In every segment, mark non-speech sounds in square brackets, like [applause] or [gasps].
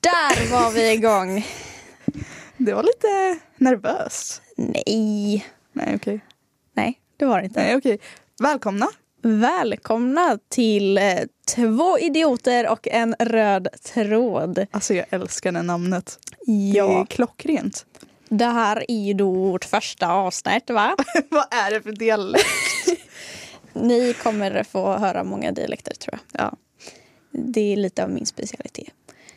Där var vi igång. Det var lite nervöst. Nej, Nej, okej. nej, det var det inte. Nej, okej. Välkomna. Välkomna till eh, Två idioter och en röd tråd. Alltså, jag älskar det namnet. Det är Ja, klockrent. [laughs] det här är ju då vårt första avsnitt, va? Vad är det för dialekt? Ni kommer få höra många dialekter, tror jag. Ja. Det är lite av min specialitet.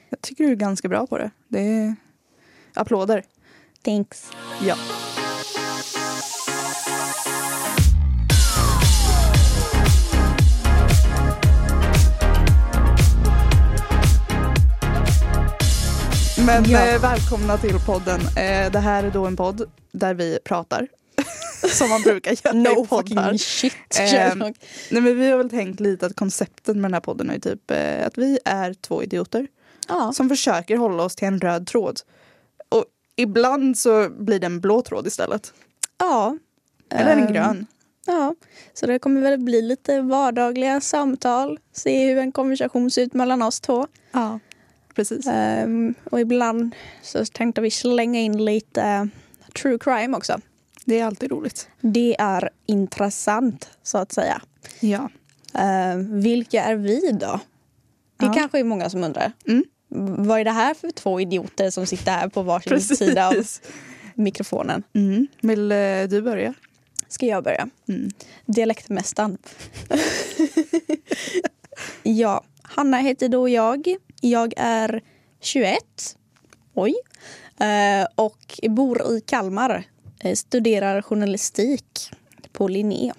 Jag tycker du är ganska bra på det. Det är... Applåder. [laughs] Thanks. Ja. Men Ja. eh, välkomna till podden. Eh, det här är då en podd där vi pratar. [laughs] Som man brukar göra i No poddar. fucking shit, Ehm, Sherlock. Nej, men vi har väl tänkt lite att konceptet med den här podden är ju typ eh, att vi är två idioter Ja. som försöker hålla oss till en röd tråd. Och ibland så blir det en blå tråd istället. ja. Eller en Ehm, grön. Ja, så det kommer väl bli lite vardagliga samtal. Se hur en konversation ser ut mellan oss två. Ja, precis. Ehm, och ibland så tänkte vi slänga in lite eh, true crime också. Det är alltid roligt. Det är intressant, så att säga. Ja. Ehm, vilka är vi då? Det Ja. kanske är många som undrar. Mm. Vad är det här för två idioter som sitter här på varsin sida av Precis. mikrofonen? Mm. Vill eh, du börja? Ska jag börja? Mm. Dialektmästaren. [laughs] ja, Hanna heter då jag. Jag är 21. Oj. Eh, Och bor i Kalmar. Eh, Studerar journalistik på Linné.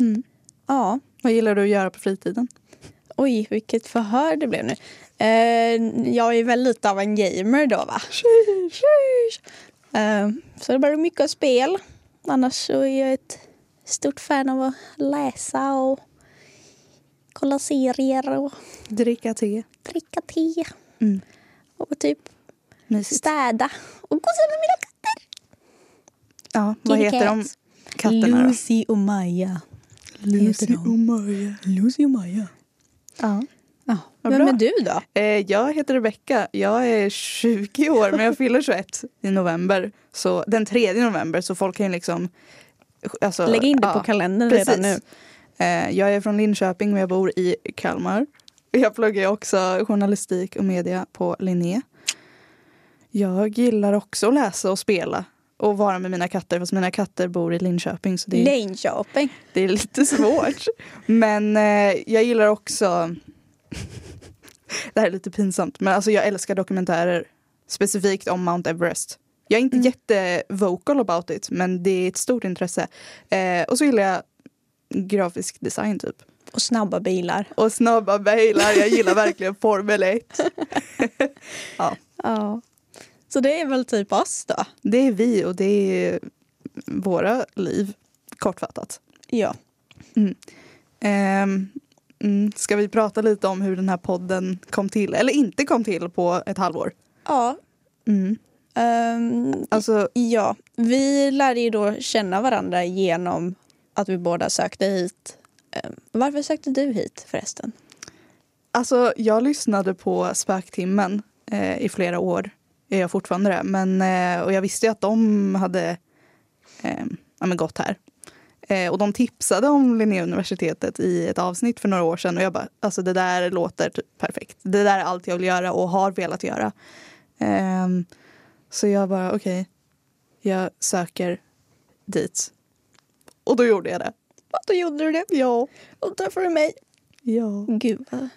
Mm. Ja, Vad gillar du att göra på fritiden? oj vilket förhör det blev nu. Eh, Jag är väl lite av en gamer då va? Sheesh. Eh, Så det blir mycket av spel. Annars så är jag ett stort fan av att läsa och kolla serier och Dricka te. dricka te Mm. och typ Mysigt. städa och gosa med mina katter. Ja, vad Kitty heter de cats. katterna då? Lucy och Maja. heter de. Maja. Lucy och Maja. Ja. Ja. Vad Vem bra. är du då? Eh, jag heter Rebecka. Jag är 20 år, men jag fyller 21 i november. Så, den 3 november, så folk kan ju liksom... Alltså, Lägg in det ja, på kalendern redan nu. Eh, jag är från Linköping, men jag bor i Kalmar. Jag pluggar ju också journalistik och media på Linné. Jag gillar också att läsa och spela och vara med mina katter, fast mina katter bor i Linköping. Så det är Linköping. det är lite svårt. Men eh, jag gillar också... [laughs] det här är lite pinsamt, men alltså jag älskar dokumentärer. Specifikt om Mount Everest. Jag är inte Mm. jättevocal about it, men det är ett stort intresse. Eh, och så gillar jag grafisk design typ. Och snabba bilar. Och snabba bilar, jag gillar verkligen Formel 1. Ja. Så det är väl typ oss då? Det är vi och det är våra liv, kortfattat. Ja. Ehm, mm, ska vi prata lite om hur den här podden kom till, eller inte kom till, på ett halvår? Ja. Mm. ehm, Alltså, Ja, vi lärde ju då känna varandra genom att vi båda sökte hit. Eh, Varför sökte du hit förresten? alltså, jag lyssnade på Spöktimmen eh, i flera år, är jag fortfarande det, men, eh, och jag visste ju att de hade eh, ja, men gått här. Eh, och de tipsade om Linnéuniversitetet i ett avsnitt för några år sedan och jag bara, alltså det där låter typ perfekt. Det där är allt jag vill göra och har velat göra. Ehm, så jag bara, okej, jag söker dit. Och då gjorde jag det. Ja, då gjorde du det. Ja. Och träffade du mig. Ja. Gud, vad,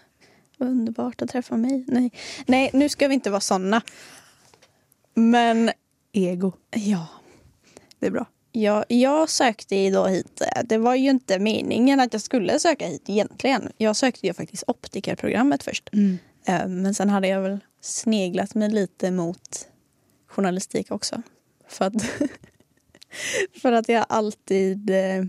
vad underbart att träffa mig. Nej. Nej, nu ska vi inte vara såna. Men Ego, ja, det är bra. jag, jag sökte ju då hit. eh, Det var ju inte meningen att jag skulle söka hit egentligen. Jag sökte ju faktiskt optikerprogrammet först. Eh, Men sen hade jag väl sneglat mig lite mot journalistik också. För att, [laughs] för att jag alltid eh,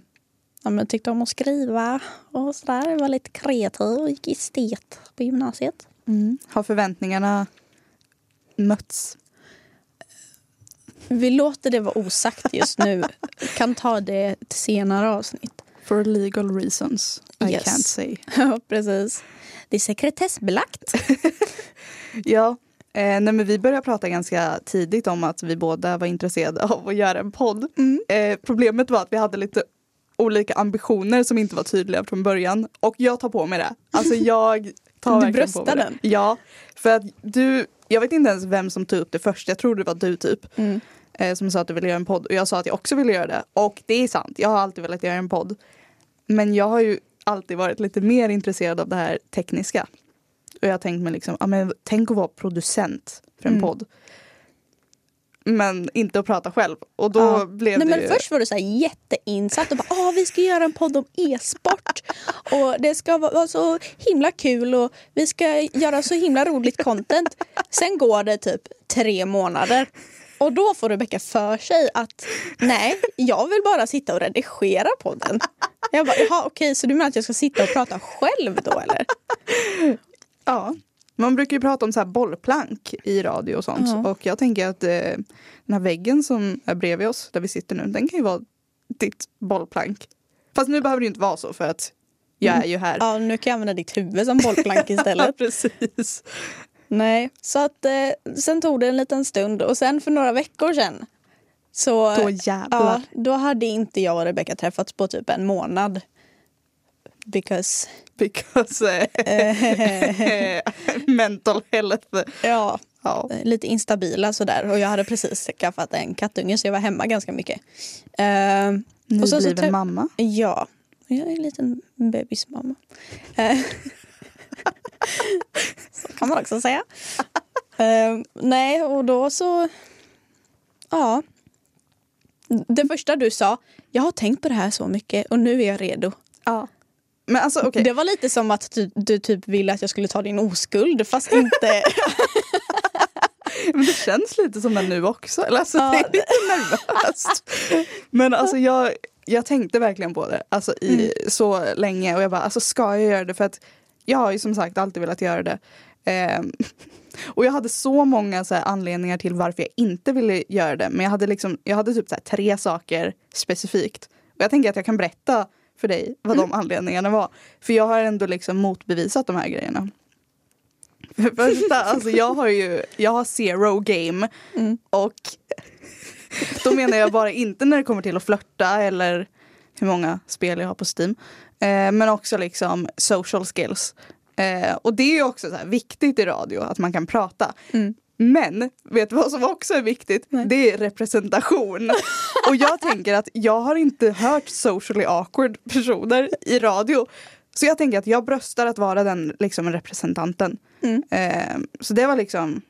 ja, men tyckte om att skriva och sådär. Jag var lite kreativ och gick estet på gymnasiet. Mm. Har förväntningarna mötts? Vi låter det vara osagt just nu. kan ta det i ett senare avsnitt. [laughs] For legal reasons, I Yes. can't say. Ja, precis. Det är sekretessbelagt. [laughs] Ja, Eh, nej, men vi började prata ganska tidigt om att vi båda var intresserade av att göra en podd. Eh, problemet var att vi hade lite olika ambitioner som inte var tydliga från början. Och jag tar på mig det. [laughs] Alltså jag tar Du verkligen bröstar på mig den? Det. Ja, för att du, jag vet inte ens vem som tog upp det först. Jag tror det var du typ. Mm. Eh, som sa att du ville göra en podd. Och jag sa att jag också ville göra det. Och det är sant, jag har alltid velat göra en podd. Men jag har ju alltid varit lite mer intresserad av det här tekniska. Och jag har tänkt mig liksom, ja, men tänk att vara producent för en Mm. podd. Men inte att prata själv. Och då Ja. blev Nej, det men ju... Först var du så här jätteinsatt och bara ah, vi ska göra en podd om [laughs] e-sport och det ska vara vara så himla kul och vi ska göra så himla roligt content. Sen går det typ tre månader och då får Rebecka för sig att nej, jag vill bara sitta och redigera podden. Jag bara, jaha okej, så du menar att jag ska sitta och prata själv då eller? Ja. Man brukar ju prata om så här bollplank i radio och sånt. Ja. Och jag tänker att eh, den här väggen som är bredvid oss, där vi sitter nu, den kan ju vara ditt bollplank. Fast nu behöver det ju inte vara så för att jag Mm. är ju här. Ja, nu kan jag använda ditt huvud som bollplank istället. [laughs] precis. Nej, så att eh, sen tog det en liten stund och sen för några veckor sedan så Då jävlar. ja, då hade inte jag och Rebecca träffats på typ en månad. Because, Because [laughs] eh, mental health. ja, Ja. lite instabila sådär och jag hade precis skaffat en kattunge så jag var hemma ganska mycket. Eh, och sen så Nybliven trä- mamma. Ja, jag är en liten bebismamma. Eh, [laughs] så kan man också säga. Eh, nej, och då så... Ja. Det första du sa, jag har tänkt på det här så mycket och nu är jag redo. Ja. Men alltså okej. Det var lite som att du, du typ ville att jag skulle ta din oskuld fast inte... Men det känns lite som den nu också. Eller alltså, Ja. Det är lite nervöst. Men alltså jag, jag tänkte verkligen på det alltså, i så länge och jag bara, alltså ska jag göra det? För att jag har ju som sagt alltid velat göra det. Ehm, [laughs] och jag hade så många så här, anledningar till varför jag inte ville göra det. Men jag hade, liksom, jag hade typ så här, tre saker specifikt. Och jag tänker att jag kan berätta för dig vad de anledningarna var. För jag har ändå liksom motbevisat de här grejerna. För det första, alltså jag har ju jag har zero game. Och då menar jag bara inte när det kommer till att flörta eller hur många spel jag har på Steam. Eh, men också liksom social skills. Eh, och det är ju också så här viktigt i radio att man kan prata. Mm. Men vet du vad som också är viktigt? Det [laughs] är representation. Och jag tänker att jag har inte hört socially awkward personer i radio. Så jag tänker att jag bröstar att vara den liksom, representanten. Mm. Eh, så det var liksom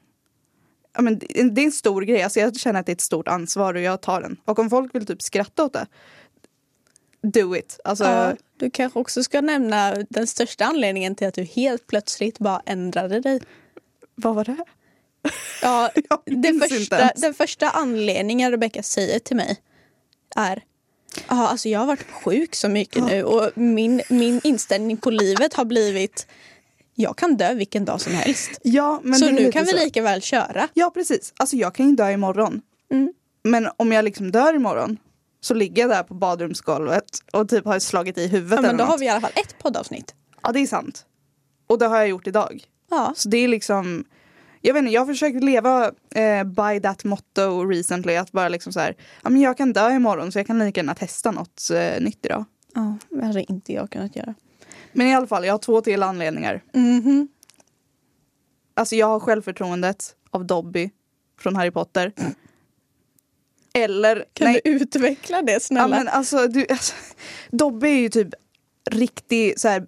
ja, men det, det är en stor grej. Alltså jag känner att det är ett stort ansvar och jag tar den. Och om folk vill typ skratta åt det, do it. Alltså, Ja, du kanske också ska nämna den största anledningen till att du helt plötsligt bara ändrade dig. Vad var det? Ja, Jag det minns inte första, ens. den första anledningen Rebecca säger till mig är Ja, alltså jag har varit sjuk så mycket nu och min, min inställning på livet har blivit jag kan dö vilken dag som helst. Ja, men det så är nu lite kan vi så. lika väl köra. Ja, precis. Alltså jag kan ju dö imorgon. Mm. Men om jag liksom dör imorgon så ligger jag där på badrumsgolvet och typ har slagit i huvudet Ja, men eller då har något. vi i alla fall ett poddavsnitt. Ja, det är sant. Och det har jag gjort idag. Ja, Så det är liksom, jag vet inte, jag har försökt leva eh, by that motto recently. Att bara liksom så här, ja men jag kan dö imorgon så jag kan lika gärna testa något eh, nytt idag. ja det hade inte jag kunnat göra. Men i alla fall, jag har två till anledningar. Mhm. Alltså jag har självförtroendet av Dobby från Harry Potter. Eller, Mm. Kan nej, du utveckla det ja, snälla? men alltså, du, alltså Dobby är ju typ riktig så här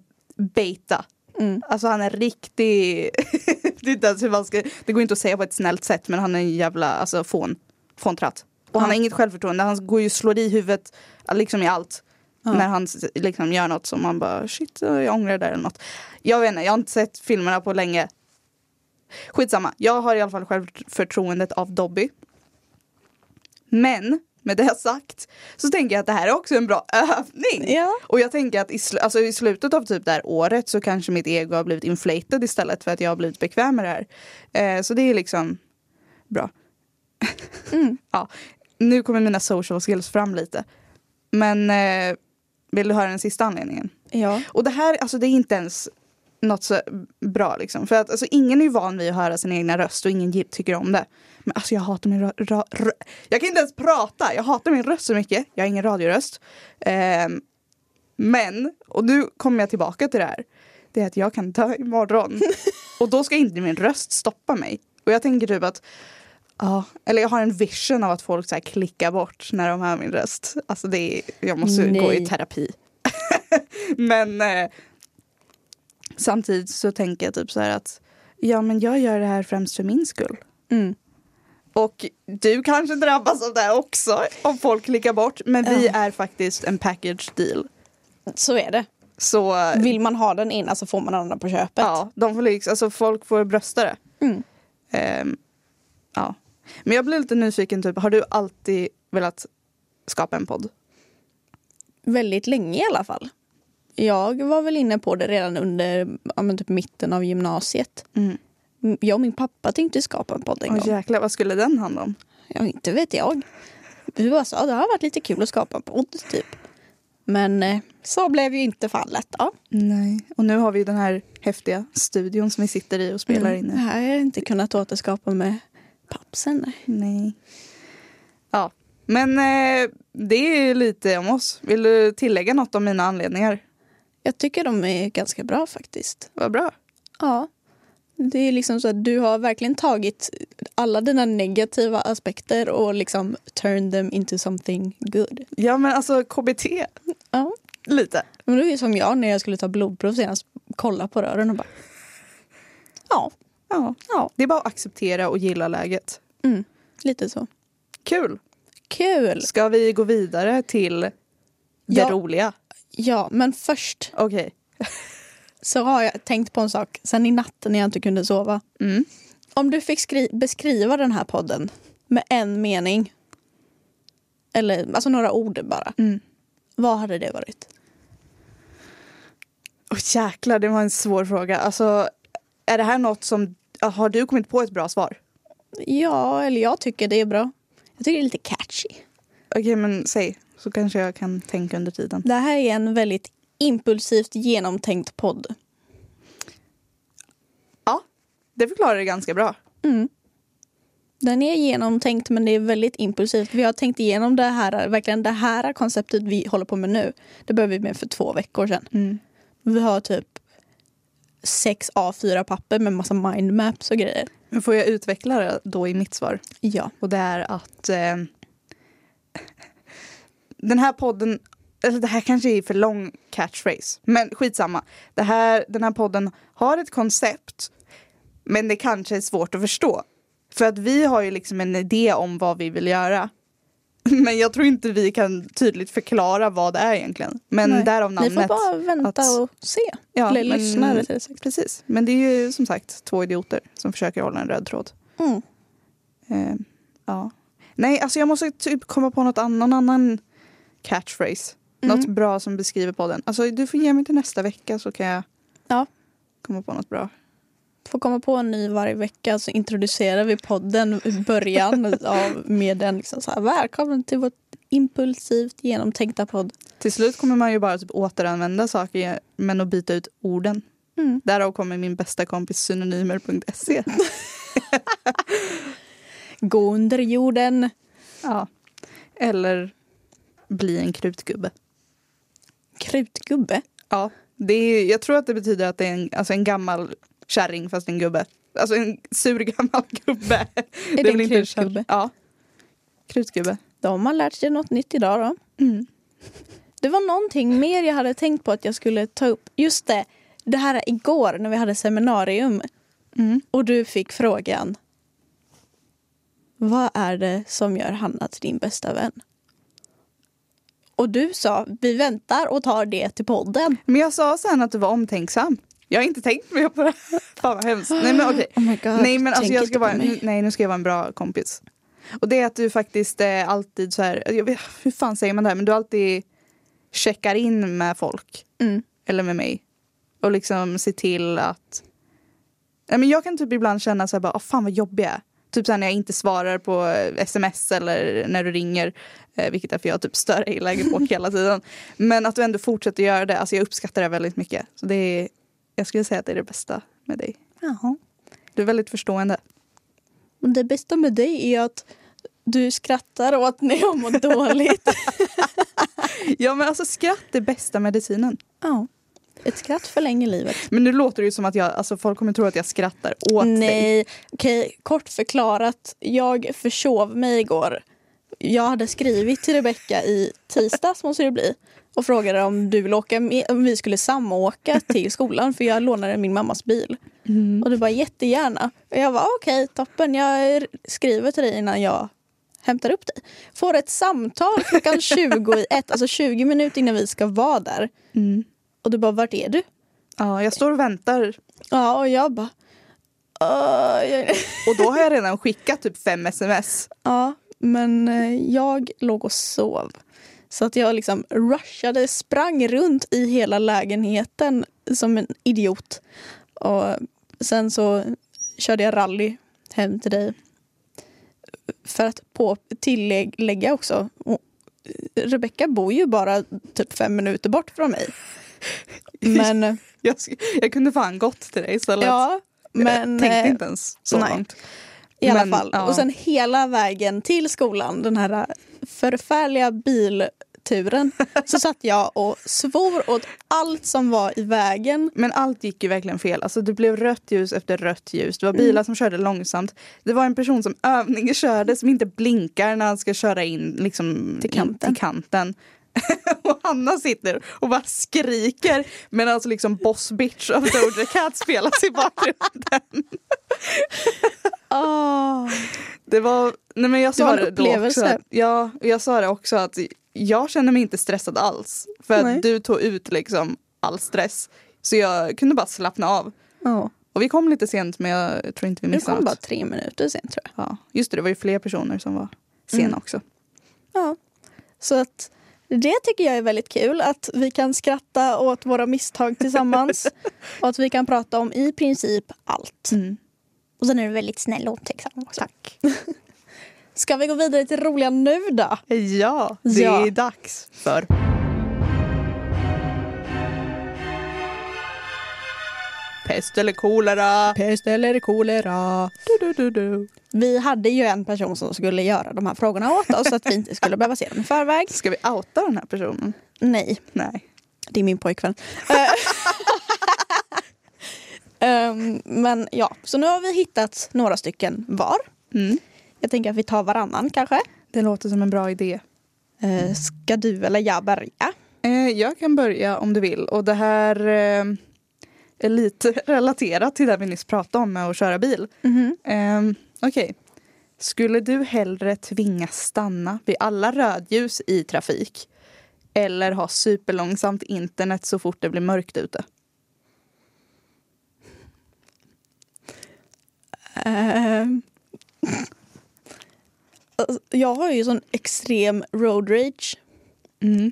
beta. Mm. Alltså han är riktig, [laughs] det, är inte ens hur man ska, det går inte att säga på ett snällt sätt men han är en jävla alltså, fån, fåntratt. Och han Ja. har inget självförtroende, han går ju och slår i huvudet liksom i allt. Ja. När han s- liksom gör något som man bara shit jag ångrar det där eller något. Jag vet inte, jag har inte sett filmerna på länge. Skitsamma, jag har i alla fall självförtroendet av Dobby. Men med det sagt så tänker jag att det här är också en bra övning. Ja. Och jag tänker att i, sl- alltså i slutet av typ det här året så kanske mitt ego har blivit inflated istället för att jag har blivit bekväm med det här. Eh, så det är liksom bra. [laughs] ja. Nu kommer mina social skills fram lite. Men eh, vill du höra den sista anledningen? ja. Och det här, alltså det är inte ens något så bra. Liksom. För att alltså, ingen är ju van vid att höra sin egna röst och ingen gi- tycker om det. Men alltså jag hatar min rö- ra- rö- Jag kan inte ens prata! Jag hatar min röst så mycket. Jag har ingen radioröst. Ehm, men, och nu kommer jag tillbaka till det här. Det är att jag kan dö imorgon. och då ska inte min röst stoppa mig. Och jag tänker typ att Ja, eller jag har en vision av att folk så här klickar bort när de hör min röst. Alltså det är, jag måste gå i Nej. terapi. men eh, samtidigt så tänker jag typ så här att ja men jag gör det här främst för min skull. Mm. Och du kanske drabbas av det här också om folk klickar bort. Men vi Ja. är faktiskt en package deal. Så är det. Så eh, Vill man ha den ena så får man den andra på köpet. ja, de får liksom, alltså folk får brösta det. Mm. Ehm, ja. Men jag blir lite nyfiken, typ, har du alltid velat skapa en podd? Väldigt länge i alla fall. Jag var väl inne på det redan under ja, men typ mitten av gymnasiet. Mm. M- Jag och min pappa tänkte skapa en podd en Åh gång. jäklar, vad skulle den handla om? Ja, inte vet jag. Vi bara sa det har varit lite kul att skapa en podd typ. Men eh, så blev ju inte fallet. Ja. Nej. Och nu har vi ju den här häftiga studion som vi sitter i och spelar in Det i. Mm, här har jag inte kunnat återskapa med pappsen. nej. Nej. Ja, men eh, det är ju lite om oss. Vill du tillägga något om mina anledningar? Jag tycker de är ganska bra faktiskt. Vad bra. Ja. Det är liksom så att du har verkligen tagit alla dina negativa aspekter och liksom turned them into something good. Ja, men alltså KBT. Ja. Lite. Men det är ju som jag när jag skulle ta blodprov senast, kolla på rören och bara Ja, Ja. ja, Det är bara att acceptera och gilla läget. mm, lite så. Kul! Kul! Ska vi gå vidare till det Ja. roliga? Ja, men först Okej. så har jag tänkt på en sak sen i natten när jag inte kunde sova. Mm. Om du fick skri- beskriva den här podden med en mening, eller alltså några ord bara, Mm. vad hade det varit? Åh, jäklar, det var en svår fråga. Alltså, är det här något som... Har du kommit på ett bra svar? Ja, eller jag tycker det är bra. Jag tycker det är lite catchy. Okej, men säg. Så kanske jag kan tänka under tiden. Det här är en väldigt impulsivt genomtänkt podd. Ja, det förklarar det ganska bra. Mm. Den är genomtänkt men det är väldigt impulsivt. Vi har tänkt igenom det här, verkligen det här konceptet vi håller på med nu. Det började vi med för två veckor sedan. Mm. Vi har typ sex A4-papper med massa mindmaps och grejer. Men får jag utveckla det då i mitt svar? Ja. Och det är att eh, [laughs] den här podden, eller det här kanske är för lång catchphrase, men skitsamma. Det här, den här podden har ett koncept, men det kanske är svårt att förstå. För att vi har ju liksom en idé om vad vi vill göra. [laughs] Men jag tror inte vi kan tydligt förklara vad det är egentligen. Men Nej. därav namnet. Ni får bara vänta att- och se. Ja, Eller men- lyssna rättare sagt. Precis, men det är ju som sagt två idioter som försöker hålla en röd tråd. Mm. Eh, ja. Nej, alltså jag måste typ komma på något annan, annan catchphrase. Mm. Något bra som beskriver podden. Alltså du får ge mig till nästa vecka så kan jag Ja. komma på något bra. Får komma på en ny varje vecka så introducerar vi podden i början av, med den liksom så här, välkommen till vårt impulsivt genomtänkta podd. Till slut kommer man ju bara typ återanvända saker men att byta ut orden. Mm. Därav kommer min bästa kompis synonymer.se. Gå under jorden. ja. Eller bli en krutgubbe. Krutgubbe? Ja, det är, jag tror att det betyder att det är en, alltså en gammal kärring fast en gubbe. Alltså en sur gammal gubbe. Är det, väl en inte en krutgubbe? kär- Ja. Krutgubbe. Då har man lärt sig något nytt idag då. Mm, Det var någonting mer jag hade tänkt på att jag skulle ta upp. Just det, det här är igår när vi hade seminarium Mm. och du fick frågan. Vad är det som gör Hanna till din bästa vän? Och du sa, vi väntar och tar det till podden. Men jag sa sen att du var omtänksam. Jag har inte tänkt mer på det. här. [laughs] Fan vad hemskt. Nej [gasps] men okej. Oh my God, Nej men alltså tänk jag inte ska på vara, mig. nej nu ska jag vara en bra kompis. Och det är att du faktiskt eh, alltid så här, jag vet, hur fan säger man det här, men du alltid checkar in med folk. Mm. eller med mig. Och liksom se till att... Nej, men jag kan typ ibland känna så här bara, "Åh, fan vad jobbig jag är. Typ så här när jag inte svarar på eh, sms eller när du ringer. eh, Vilket är för jag typ stör [laughs] dig i läget bort hela tiden. Men att du ändå fortsätter göra det. Alltså jag uppskattar det väldigt mycket. Så det är jag skulle säga att det är det bästa med dig. Jaha. Du är väldigt förstående. Men det bästa med dig är att du skrattar åt när jag mår dåligt. Ja men alltså skratt är bästa medicinen. ja. Ett skratt förlänger livet. Men nu låter det ju som att jag, alltså folk kommer tro att jag skrattar åt dig. Nej, okej, kort förklarat. Jag försov mig igår. Jag hade skrivit till Rebecka i tisdags måste det bli och frågade om du ville åka med, om vi skulle samåka till skolan för jag lånade min mammas bil. Mm. Och du bara jättegärna. Och jag var okej, toppen. Jag skriver till dig innan jag hämtar upp dig. Får ett samtal klockan 20 i ett, alltså 20 minuter innan vi ska vara där. Mm. Och du bara, vart är du? Ja, jag står och väntar Ja, och jag bara... "Åh, jag... och då har jag redan skickat typ fem sms. Ja, men eh, jag låg och sov. Så att jag liksom rushade, sprang runt i hela lägenheten som en idiot. Och sen så körde jag rally hem till dig. För att på tillägga också, och eh, Rebecka bor ju bara typ fem minuter bort från [laughs] mig. Men, Jag, sk- jag kunde fan gått till dig istället. ja, men... jag tänkte eh, inte ens så nej. långt. I alla Men, fall. ja. Och sen hela vägen till skolan, den här förfärliga bilturen, [laughs] så satt jag och svor åt allt som var i vägen. Men allt gick ju verkligen fel. Alltså, det blev rött ljus efter rött ljus. Det var bilar Mm. som körde långsamt. Det var en person som övningskörde som inte blinkar när han ska köra in liksom, Till kanten. In till kanten. [laughs] och Hanna sitter och bara skriker medan alltså liksom Boss Bitch av Doja Cat spelas i bakgrunden. Oh. Det var, nej men jag Det var sa en det, då också. upplevelse. Att, ja, jag sa det också att jag känner mig inte stressad alls. För Nej. att du tog ut liksom all stress. Så jag kunde bara slappna av. Ja. Och vi kom lite sent men jag tror inte vi Det missade kom bara något. tre minuter sen tror jag. Ja, just det, det var ju fler personer som var sena Mm. också. Ja. Så att det tycker jag är väldigt kul, att vi kan skratta åt våra misstag [laughs] tillsammans och att vi kan prata om i princip allt. Mm. Och sen är du väldigt snäll och omtänksam också. Tack. [laughs] Ska vi gå vidare till roliga nu då? Ja, det Ja. är dags för... Pest eller kolera? Pest eller kolera? Du, du, du, du. Vi hade ju en person som skulle göra de här frågorna åt oss så att vi inte skulle behöva se dem i förväg. Ska vi outa den här personen? Nej, Nej. det är min pojkvän. Eh, [laughs] Ehm, men ja, så nu har vi hittat några stycken var. Mm. Jag tänker att vi tar varannan kanske. Det låter som en bra idé. Uh, ska du eller jag börja? Eh, jag kan börja om du vill. Och det här eh, är lite [laughs] relaterat till det vi nyss pratade om med att köra bil. Ehm, Okej. Skulle du hellre tvingas stanna vid alla rödljus i trafik eller ha superlångsamt internet så fort det blir mörkt ute? Ehm. [laughs] Alltså, jag har ju sån extrem road rage. Mm.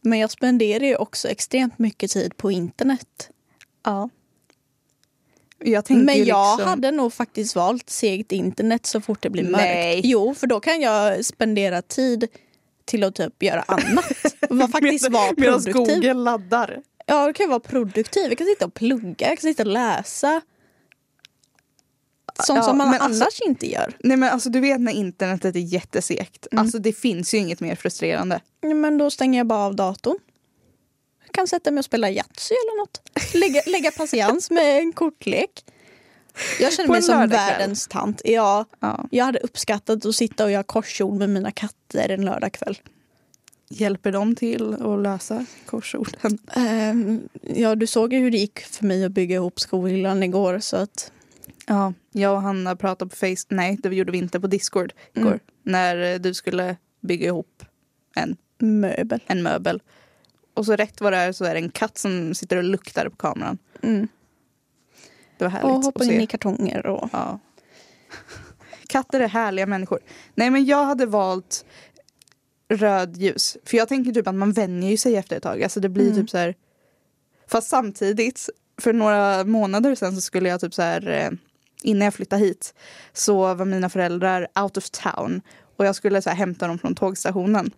Men jag spenderar ju också extremt mycket tid på internet. Ja. Jag tänker men ju jag liksom, hade nog faktiskt valt segt internet så fort det blir mörkt. Nej. Jo, för då kan jag spendera tid till att typ göra [laughs] annat. Var faktiskt vara [laughs] Medan produktiv. Google laddar. Ja, då kan jag vara produktiv. Jag kan sitta och plugga, jag kan sitta och läsa. Sånt Ja, som man men annars alltså- inte gör. Nej men alltså du vet när internetet är jättesegt. Alltså det finns ju inget mer frustrerande. Ja, Men då stänger jag bara av datorn. Jag kan sätta mig och spela Yatzy eller något. Lägga, lägga patiens med en kortlek. Jag känner På mig en som lördagkväll. världens tant. Ja, Ja. jag hade uppskattat att sitta och göra korsord med mina katter en lördagkväll. Hjälper de till att lösa korsorden? Ehm, ja, du såg ju hur det gick för mig att bygga ihop skolan igår. Så att, Ja, jag och Hanna pratade på Face... Nej, det gjorde vi inte på Discord igår. Mm. När eh, du skulle bygga ihop en, möbel. en möbel. Och så rätt vad det är så är det en katt som sitter och luktar på kameran. Mm. Det var Och härligt hoppa att se. in i kartonger. Och, Ja. Katter är härliga människor. Nej, men jag hade valt röd ljus. För jag tänker typ att man vänjer ju sig efter ett tag. Alltså det blir Mm. typ så här... Fast samtidigt, för några månader sedan så skulle jag typ så här... eh, Innan jag flyttade hit så var mina föräldrar out of town och jag skulle så här hämta dem från tågstationen.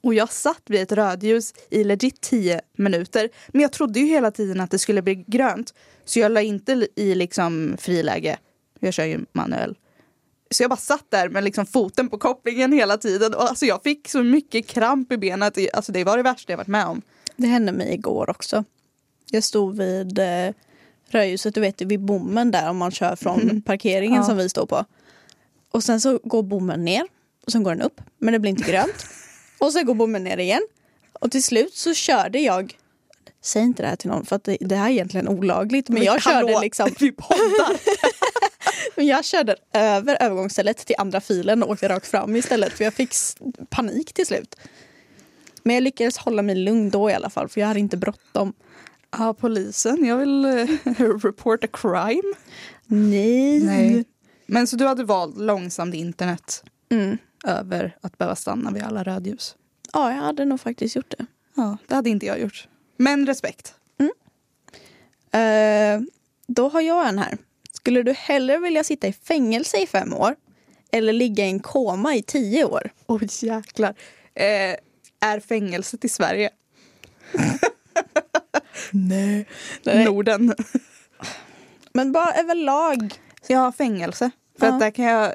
Och jag satt vid ett rödljus i legit 10 minuter. Men jag trodde ju hela tiden att det skulle bli grönt. Så jag la inte i liksom friläge. Jag kör ju manuell. Så jag bara satt där med liksom foten på kopplingen hela tiden. Och alltså jag fick så mycket kramp i benet. Alltså det var det värsta jag varit med om. Det hände mig igår också. Jag stod vid eh, rödljuset, du vet vid bommen där om man kör från parkeringen Mm. Ja. som vi står på. Och sen så går bommen ner och sen går den upp men det blir inte [laughs] grönt. och sen går bommen ner igen. Och till slut så körde jag, säg inte det här till någon för att det, det här är egentligen olagligt men jag hallå, körde liksom [laughs] Vi poddar. men jag körde över övergångsstället till andra filen och åkte rakt fram istället för jag fick s- panik till slut. Men jag lyckades hålla mig lugn då i alla fall för jag hade inte bråttom. Ja, polisen. Jag vill eh, [laughs] report a crime. Nej. Men så du hade valt långsamt internet Mm. över att behöva stanna vid alla rödljus? Ja, jag hade nog faktiskt gjort det. Ja, det hade inte jag gjort. Men respekt. Eh, då har jag en här. Skulle du hellre vilja sitta i fängelse i fem år eller ligga i en koma i tio år? Oj, jäklar. Eh, är fängelset i Sverige? Nej. Nej. Norden. Men bara överlag. Ja, fängelse. För Ja. att där kan jag...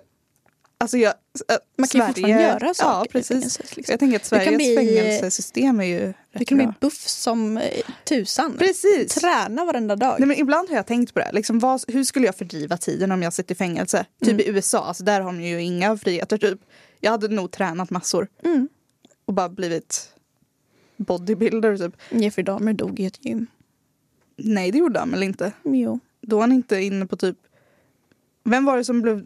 Alltså jag äh, Man kan ju fortfarande göra saker Ja, i precis. fängelset, liksom. Jag tänker att Sveriges bli- fängelsesystem är ju Du rätt kan bli bra. buff som eh, tusan. Precis. Träna varenda dag. Nej, men ibland har jag tänkt på det. här. Liksom, vad, hur skulle jag fördriva tiden om jag sitter i fängelse? Typ Mm. i USA, alltså, där har de ju inga friheter. Typ. Jag hade nog tränat massor Mm. och bara blivit bodybuilder. Typ. Jeffrey Dahmer dog i ett gym. Nej, det gjorde han väl inte. Jo. Då var han inte inne på typ... Vem var det som blev...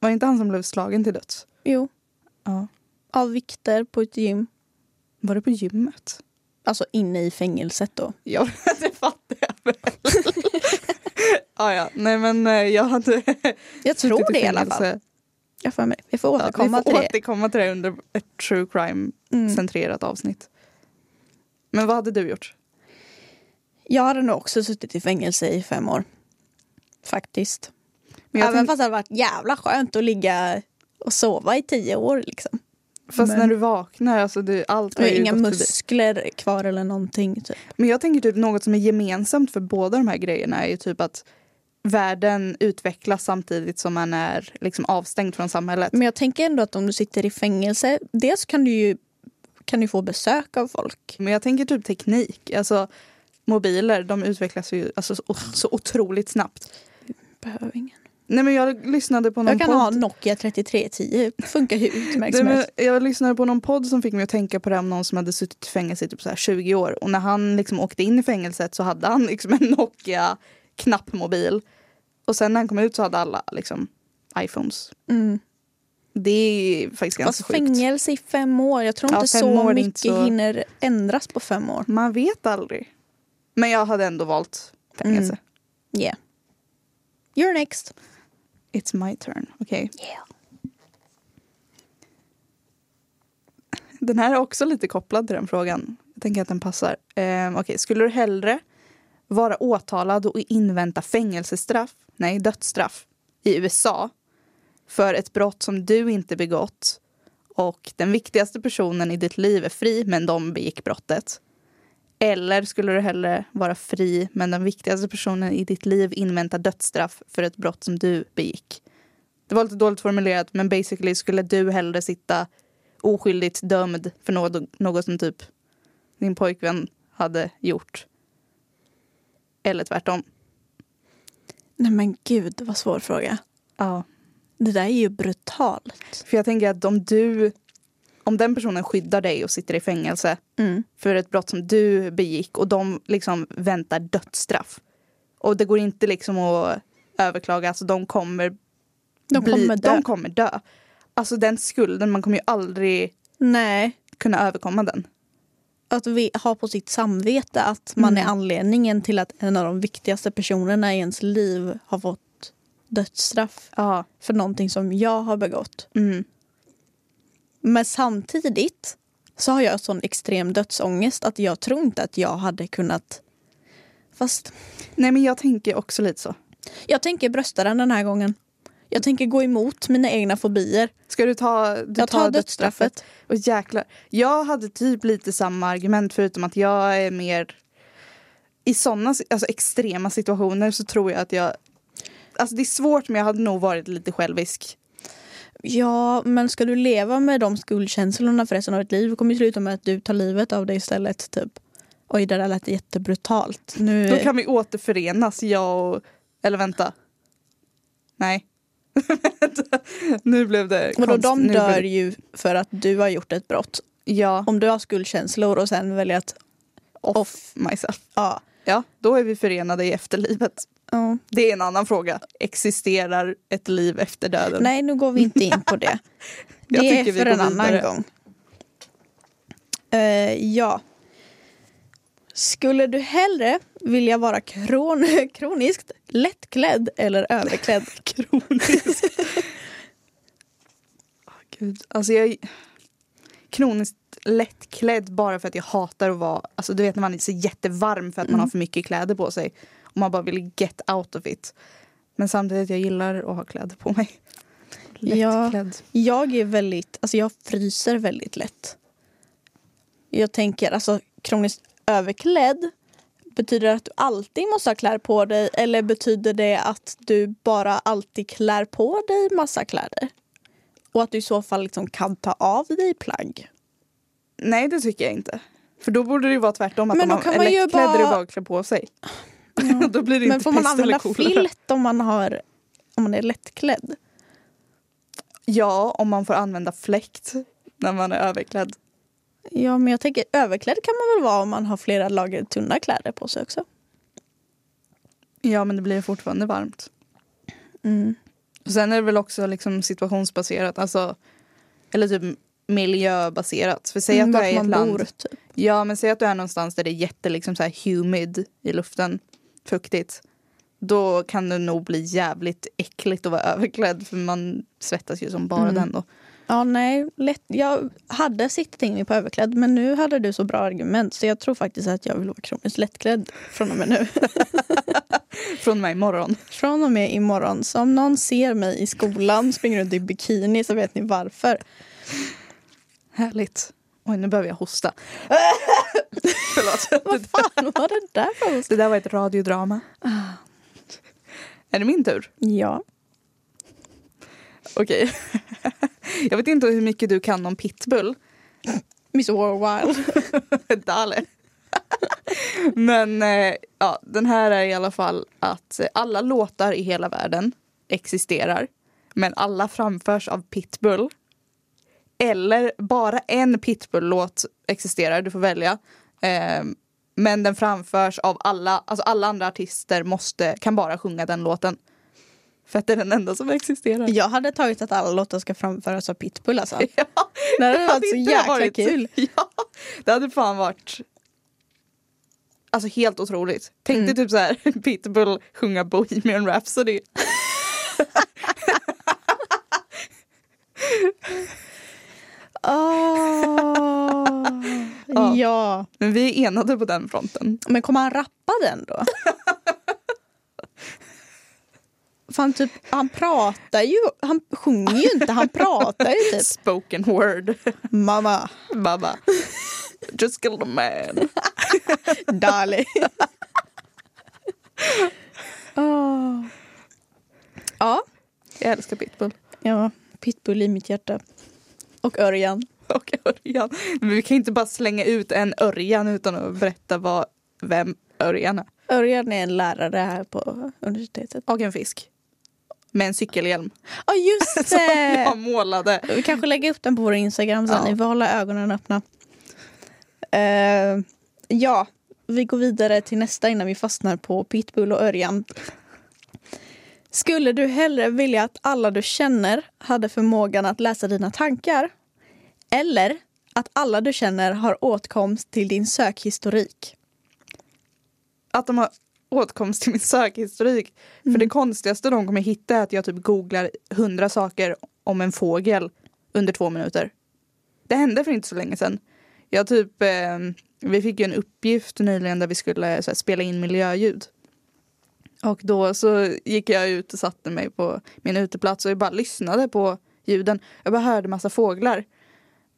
Var det inte han som blev slagen till döds? jo. Ja. Av vikter på ett gym. Var det på gymmet? Alltså inne i fängelset då. Ja, det fattar jag väl. [laughs] ja, ja. Nej, men eh, jag hade... Jag tror suttit det i alla fängelse. fall. Jag får mig. Vi får Ja, återkomma vi får till det. återkomma till det under ett true Mm. crime-centrerat avsnitt. Men vad hade du gjort? Jag hade nog också suttit i fängelse i fem år. Faktiskt. Men jag Även tänk, fast det hade varit jävla skönt att ligga och sova i tio år. Liksom. fast men- när du vaknar, alltså du, allt har Och ju inga gått förbi. muskler kvar eller någonting. Typ. Men jag tänker typ något som är gemensamt för båda de här grejerna är ju typ att världen utvecklas samtidigt som man är liksom avstängd från samhället. Men jag tänker ändå att om du sitter i fängelse, dels kan du ju kan du få besök av folk. Men jag tänker typ teknik, alltså mobiler, de utvecklas ju alltså, så, så otroligt snabbt. Behöver ingen. Nej men jag lyssnade på någon Jag kan podd. ha Nokia 3310, funkar ju utmärkt Nej, som men helst. jag lyssnade på någon podd som fick mig att tänka på det här om någon som hade suttit i fängelse i typ så här 20 år. Och när han liksom åkte in i fängelset så hade han liksom en Nokia-knappmobil. Och sen när han kom ut så hade alla liksom iPhones. Mm. Det är faktiskt ganska Fast sjukt. fängelse i fem år, jag tror Ja, inte fem år så är inte mycket så- hinner ändras på fem år. Man vet aldrig. Men jag hade ändå valt fängelse. Mm. Yeah. You're next. It's my turn. Okej. Yeah. Den här är också lite kopplad till den frågan. Jag tänker att den passar. Ehm, okej. Skulle du hellre vara åtalad och invänta fängelsestraff, nej dödsstraff, i USA för ett brott som du inte begått och den viktigaste personen i ditt liv är fri men de begick brottet? Eller skulle du hellre vara fri men den viktigaste personen i ditt liv inväntar dödsstraff för ett brott som du begick? Det var lite dåligt formulerat men basically skulle du hellre sitta oskyldigt dömd för något, något som typ din pojkvän hade gjort. Eller tvärtom. Nej men gud vad svår fråga. Ja. Det där är ju brutalt. För jag tänker att om du, om den personen skyddar dig och sitter i fängelse Mm. för ett brott som du begick och de liksom väntar dödsstraff. Och det går inte liksom att överklaga, alltså de kommer, De bli- kommer dö. de kommer dö. Alltså den skulden, man kommer ju aldrig Nej, kunna överkomma den. att vi har på sitt samvete att man Mm. är anledningen till att en av de viktigaste personerna i ens liv har fått dödsstraff Ja. för någonting som jag har begått. Mm. Men samtidigt så har jag sån extrem dödsångest att jag tror inte att jag hade kunnat... Fast Nej men jag tänker också lite så. jag tänker brösta den den här gången. Jag tänker gå emot mina egna fobier. Ska du ta, du jag tar dödsstraffet. Och jäklar. Jag hade typ lite samma argument förutom att jag är mer... I sådana alltså, extrema situationer så tror jag att jag... Alltså det är svårt men jag hade nog varit lite självisk. Ja, men ska du leva med de skuldkänslorna för resten av ditt liv? Det kommer ju sluta med att du tar livet av dig istället. Typ. Oj, det där lät jättebrutalt. Nu... Då kan vi återförenas jag och... Eller vänta. Nej. [laughs] Vänta. nu blev det Vadå, konst- de nu blev dör det- ju för att du har gjort ett brott. Ja, Om du har skuldkänslor och sen väljer att... off, off. myself. Ja. Ja, då är vi förenade i efterlivet. ja. Det är en annan fråga. Existerar ett liv efter döden? Nej, nu går vi inte in på det. [laughs] Jag Det är tycker vi för går en annan vidare. gång. Eh, ja. Skulle du hellre vilja vara kron- [laughs] kroniskt lättklädd eller överklädd? [laughs] Kronisk. Åh, Gud. Alltså jag är kroniskt lättklädd bara för att jag hatar att vara... Alltså du vet när man är så jättevarm för att Mm. man har för mycket kläder på sig. Och man bara vill get out of it. Men samtidigt, jag gillar att ha kläder på mig. Ja. Lättklädd. Jag är väldigt, alltså jag fryser väldigt lätt. Jag tänker alltså kroniskt överklädd. Betyder det att du alltid måste ha kläder på dig eller betyder det att du bara alltid klär på dig massa kläder? Och att du i så fall liksom kan ta av dig plagg. Nej, det tycker jag inte. För då borde det ju vara tvärtom. Att Men om då man kan är man ju lättklädd är det bara- bara att klä på sig. [laughs] då blir det Men inte får man pest eller använda kolera. filt om man, har, om man är lättklädd? Ja, om man får använda fläkt när man är överklädd. Ja, men jag tänker överklädd kan man väl vara om man har flera lager tunna kläder på sig också. Ja, men det blir fortfarande varmt. Mm. Och sen är det väl också liksom situationsbaserat, alltså, eller typ miljöbaserat. För Mm, säg att du är i ett land. typ. Ja, men säg att du är någonstans där det är jätte liksom, så här humid i luften, fuktigt. Då kan det nog bli jävligt äckligt att vara överklädd för man svettas ju som bara Mm. den då. Ja, nej. Lätt. Jag hade sittat in mig på överklädd, men nu hade du så bra argument så jag tror faktiskt att jag vill vara kroniskt lättklädd från och med nu. [laughs] Från mig imorgon. Från och med imorgon. Så om någon ser mig i skolan springer runt i bikini så vet ni [laughs] varför. Härligt. Oj, nu behöver jag [laughs] hosta. Förlåt. Vad fan var det där för oss? Det där var ett radiodrama. Ah. Är det min tur? Ja. Okej. [laughs] Jag vet inte hur mycket du kan om pitbull. [laughs] Miss Worldwide. Dale. [laughs] Men eh, ja, den här är i alla fall att eh, alla låtar i hela världen existerar. Men alla framförs av pitbull. Eller bara en pitbull-låt existerar, du får välja. Eh, men den framförs av alla, alltså alla andra artister måste, kan bara sjunga den låten. För att det är den enda som existerar. Jag hade tagit att alla låtar ska framföras av Pitbull alltså. [laughs] Ja. Det hade [laughs] Hade varit så inte det jäkla varit- kul. [laughs] Ja, det hade fan varit Alltså helt otroligt. Tänk dig typ så här [laughs] Pitbull sjunga Bohemian Rhapsody. Åh. [laughs] Ja. Ah. ja. Men vi är enade på den fronten. Men kommer han rappa den då? Fan, typ, han pratar ju, han sjunger ju inte, han pratar ju typ. Spoken word. [laughs] Mamma, Baba. Just killed a man. darling. Åh. Ah. Ja, Jag älskar Pitbull. ja, pitbull i mitt hjärta. Och Örjan. [laughs] Och Örjan. Men vi kan inte bara slänga ut en Örjan utan att berätta vad, vem Örjan är. Örjan är en lärare här på universitetet. Och en fisk. Med en cykelhjälm. [laughs] Ja, [laughs] just Som jag det! målade. Vi kanske lägger upp den på vår Instagram sen. Ja. Ni får hålla ögonen öppna. Eh, ja, vi går vidare till nästa innan vi fastnar på pitbull och Örjan. Skulle du hellre vilja att alla du känner hade förmågan att läsa dina tankar? Eller att alla du känner har åtkomst till din sökhistorik? att de har åtkomst till min sökhistorik. För det konstigaste de kommer hitta är att jag typ googlar hundra saker om en fågel under två minuter. Det hände för inte så länge sedan. Jag typ, eh, vi fick ju en uppgift nyligen där vi skulle så här, spela in miljöljud. Och då så gick jag ut och satte mig på min uteplats och jag bara lyssnade på ljuden. Jag bara hörde massa fåglar.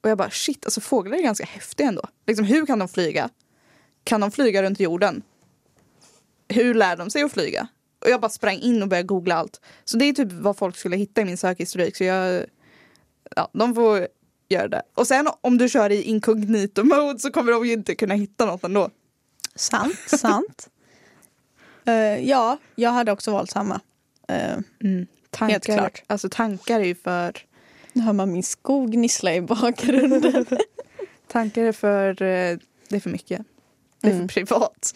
Och jag bara shit, alltså fåglar är ganska häftiga ändå. Liksom hur kan de flyga? Kan de flyga runt jorden? Hur lär de sig att flyga? Och jag bara sprang in och började googla allt. Så det är typ vad folk skulle hitta i min sökhistorik. Så jag, ja, de får göra det. Och sen om du kör i incognito mode så kommer de ju inte kunna hitta något ändå. Sant, sant. Eh, ja, jag hade också valt samma. Eh, Tankar, Helt klart. Alltså tankar är ju för nu hör man min skog gnissla i bakgrunden. Tankar är för, eh, det är för mycket. Det är Mm. för privat.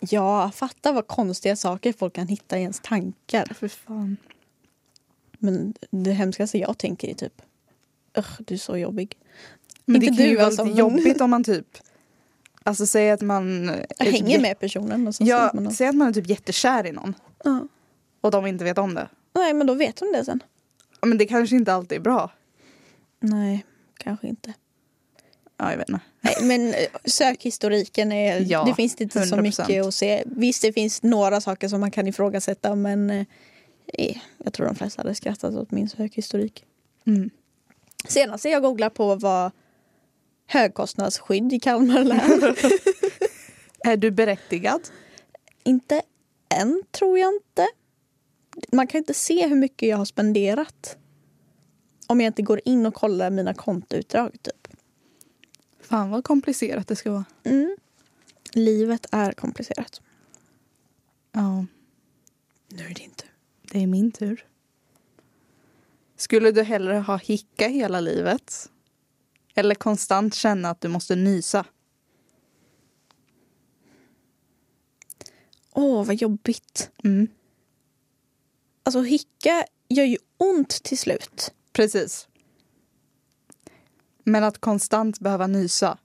ja, fatta vad konstiga saker folk kan hitta i ens tankar. För fan. Men det hemskaste jag tänker är typ Ugh, du är så jobbig. Men Inte det kan du ju vara alltså, lite men- jobbigt om man typ... Alltså säg att man... Jag hänger med personen. Och sen Typ Ja, slutar man säg att man är typ jättekär i någon ja. och de inte vet om det. Nej, men då vet hon det sen. Ja, Men det kanske inte alltid är bra. Nej, kanske inte. Ja, jag vet inte. Nej, men eh, sökhistoriken är... [laughs] Ja, det finns inte så 100%. mycket att se. Visst, det finns några saker som man kan ifrågasätta men eh, eh, jag tror de flesta hade skrattat åt min sökhistorik. [laughs] Mm. Senaste jag googlade på var högkostnadsskydd i Kalmar län. Är du berättigad? inte än, tror jag inte. Man kan inte se hur mycket jag har spenderat om jag inte går in och kollar mina kontoutdrag. Typ. Fan vad komplicerat det ska vara. Mm. Livet är komplicerat. Ja, Nu är det inte. det är min tur. Skulle du hellre ha hicka hela livet? Eller konstant känna att du måste nysa? Åh, vad jobbigt. Mm. Alltså hicka gör ju ont till slut. Precis. Men att konstant behöva nysa.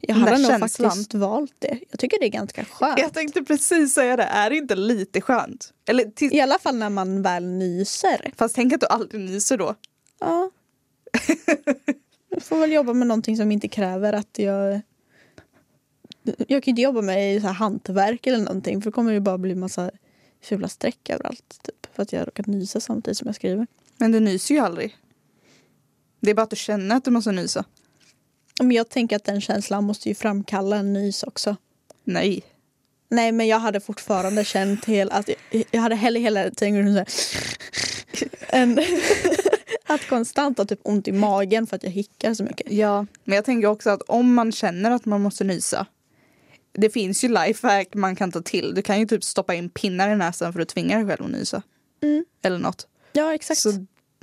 Jag Den hade där nog känslan. faktiskt valt det. Jag tycker det är ganska skönt. Jag tänkte precis säga det, är det inte lite skönt? Eller, till, I alla fall när man väl nyser. Fast tänk att du aldrig nyser då. Ja. Jag får väl jobba med någonting som inte kräver att jag... Jag kan ju inte jobba med så här hantverk eller någonting för då kommer det ju bara bli massa fula streck överallt. Typ, för att jag har råkat nysa samtidigt som jag skriver. Men du nyser ju aldrig. Det är bara att du känner att du måste nysa. Men jag tänker att den känslan måste ju framkalla en nys också. Nej. Nej men jag hade fortfarande känt hel, att jag, jag hade hellre hela tiden gått runt så här, [laughs] än att konstant ha typ ont i magen för att jag hickar så mycket. Ja. Men jag tänker också att om man känner att man måste nysa. Det finns ju lifehack man kan ta till. Du kan ju typ stoppa in pinnar i näsan för att tvinga dig själv att nysa. Mm. Eller något. Ja exakt. Så,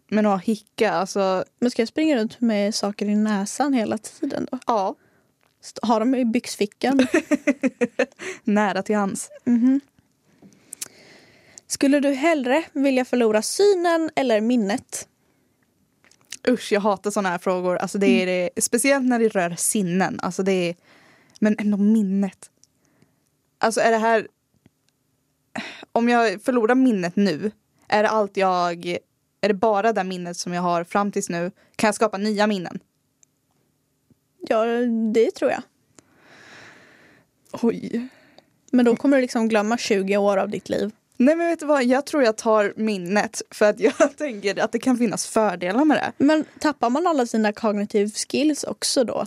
men att ha hicka, alltså Men ska jag springa runt med saker i näsan hela tiden då? ja, St- Ha dem i [laughs] byxfickan? nära till hands. Mhm. Skulle du hellre vilja förlora synen eller minnet? Usch, jag hatar såna här frågor. Alltså det är det, speciellt när det rör sinnen. Alltså det är, men ändå minnet. Alltså är det här... Om jag förlorar minnet nu, är det allt jag... Är det bara det minnet som jag har fram tills nu? Kan jag skapa nya minnen? Ja, det tror jag. Oj. Men då kommer du liksom glömma 20 år av ditt liv. Nej men vet du vad, jag tror jag tar minnet för att [laughs] jag tänker att det kan finnas fördelar med det. Men tappar man alla sina cognitive skills också då?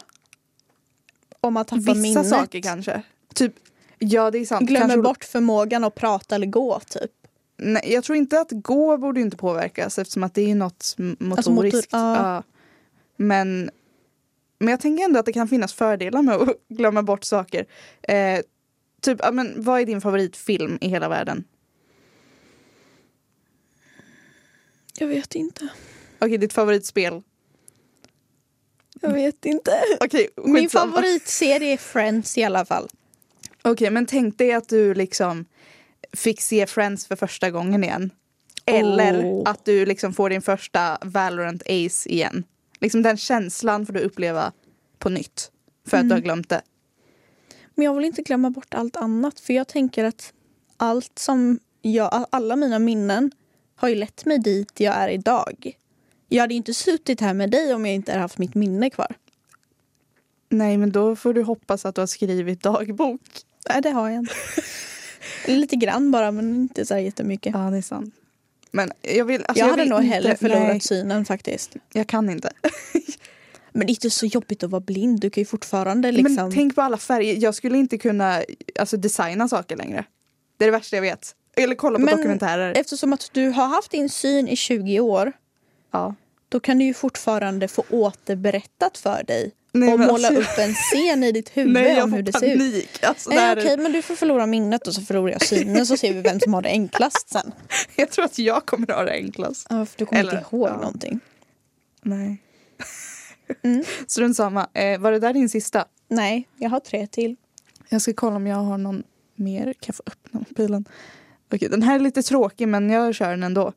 Om man tappar Vissa minnet? saker kanske. Typ, ja det är sant. Glömmer Kanske- bort förmågan att prata eller gå typ? Nej, jag tror inte att gå borde inte påverkas eftersom att det är ju något m- Alltså motoriskt. motor- ja. Ja. Men, men jag tänker ändå att det kan finnas fördelar med att [laughs] glömma bort saker. Eh, typ, ja, men, vad är din favoritfilm i hela världen? Jag vet inte. Okej, ditt favoritspel. Jag vet inte. Okej, Mm. Min skitsamma. favoritserie är Friends i alla fall. Okej, men tänk dig att du liksom fick se Friends för första gången igen. Eller Oh. att du liksom får din första Valorant Ace igen. Liksom den känslan får du uppleva på nytt. För att Mm. du har glömt det. Men jag vill inte glömma bort allt annat för jag tänker att allt som jag, alla mina minnen har ju lett mig dit jag är idag. Jag hade ju inte suttit här med dig om jag inte hade haft mitt minne kvar. Nej, men då får du hoppas att du har skrivit dagbok. Nej, det har jag inte. [laughs] Lite grann bara men inte så här jättemycket. Ja, det är sant. Men jag vill... Alltså, jag hade vill nog inte- hellre förlorat Nej, synen faktiskt. jag kan inte. Men det är inte så jobbigt att vara blind. Du kan ju fortfarande liksom... Men tänk på alla färger. Jag skulle inte kunna alltså, designa saker längre. Det är det värsta jag vet. Eller kolla på Men- dokumentärer. Eftersom att du har haft din syn i 20 år Ja. då kan du ju fortfarande få återberättat för dig Nej, och men måla alltså- upp en scen i [laughs] ditt huvud [laughs] Nej, jag om hur får det ser ut. typ- panik. Alltså, det Nej, här, är- okej, men du får förlora minnet och så förlorar jag synen så ser vi vem som har det enklast sen. [laughs] Jag tror att jag kommer ha det enklast. [laughs] Ja, för du kommer Eller- inte ihåg ja. någonting. Nej. Mm. [laughs] Strunt samma. Eh, var det där din sista? Nej, jag har tre till. Jag ska kolla om jag har någon mer. Kan jag få öppna mobilen? Okej, den här är lite tråkig men jag kör den ändå.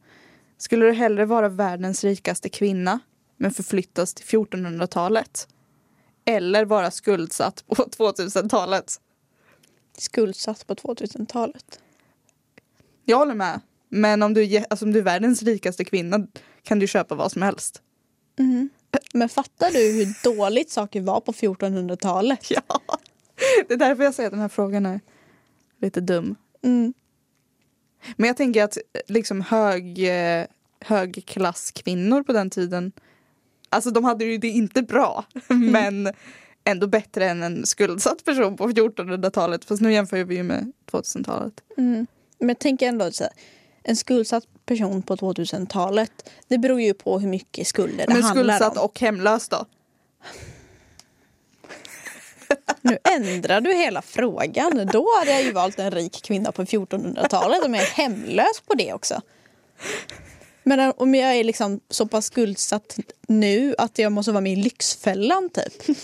Skulle du hellre vara världens rikaste kvinna men förflyttas till 1400-talet? Eller vara skuldsatt på [laughs] 2000-talet? Skuldsatt på 2000-talet. Jag håller med. Men om du, är jä- alltså, om du är världens rikaste kvinna kan du köpa vad som helst. [laughs] Mhm. Men fattar du hur dåligt saker var på 1400-talet? Ja. Det är därför jag säger att den här frågan är lite dum. Mm. Men jag tänker att eh, liksom hög, eh, högklasskvinnor på den tiden, alltså de hade ju det inte bra, [laughs] Mm. men ändå bättre än en skuldsatt person på 1400-talet. Fast nu jämför vi ju med 2000-talet. Mm. Men jag tänker ändå så här, en skuldsatt person på 2000-talet, det beror ju på hur mycket skulder det men handlar skuldsatt om. och hemlös då? Nu ändrar du hela frågan. Då hade jag ju valt en rik kvinna på 1400-talet om jag är hemlös på det också. Men eh, om jag är liksom så pass skuldsatt nu att jag måste vara med i Lyxfällan typ.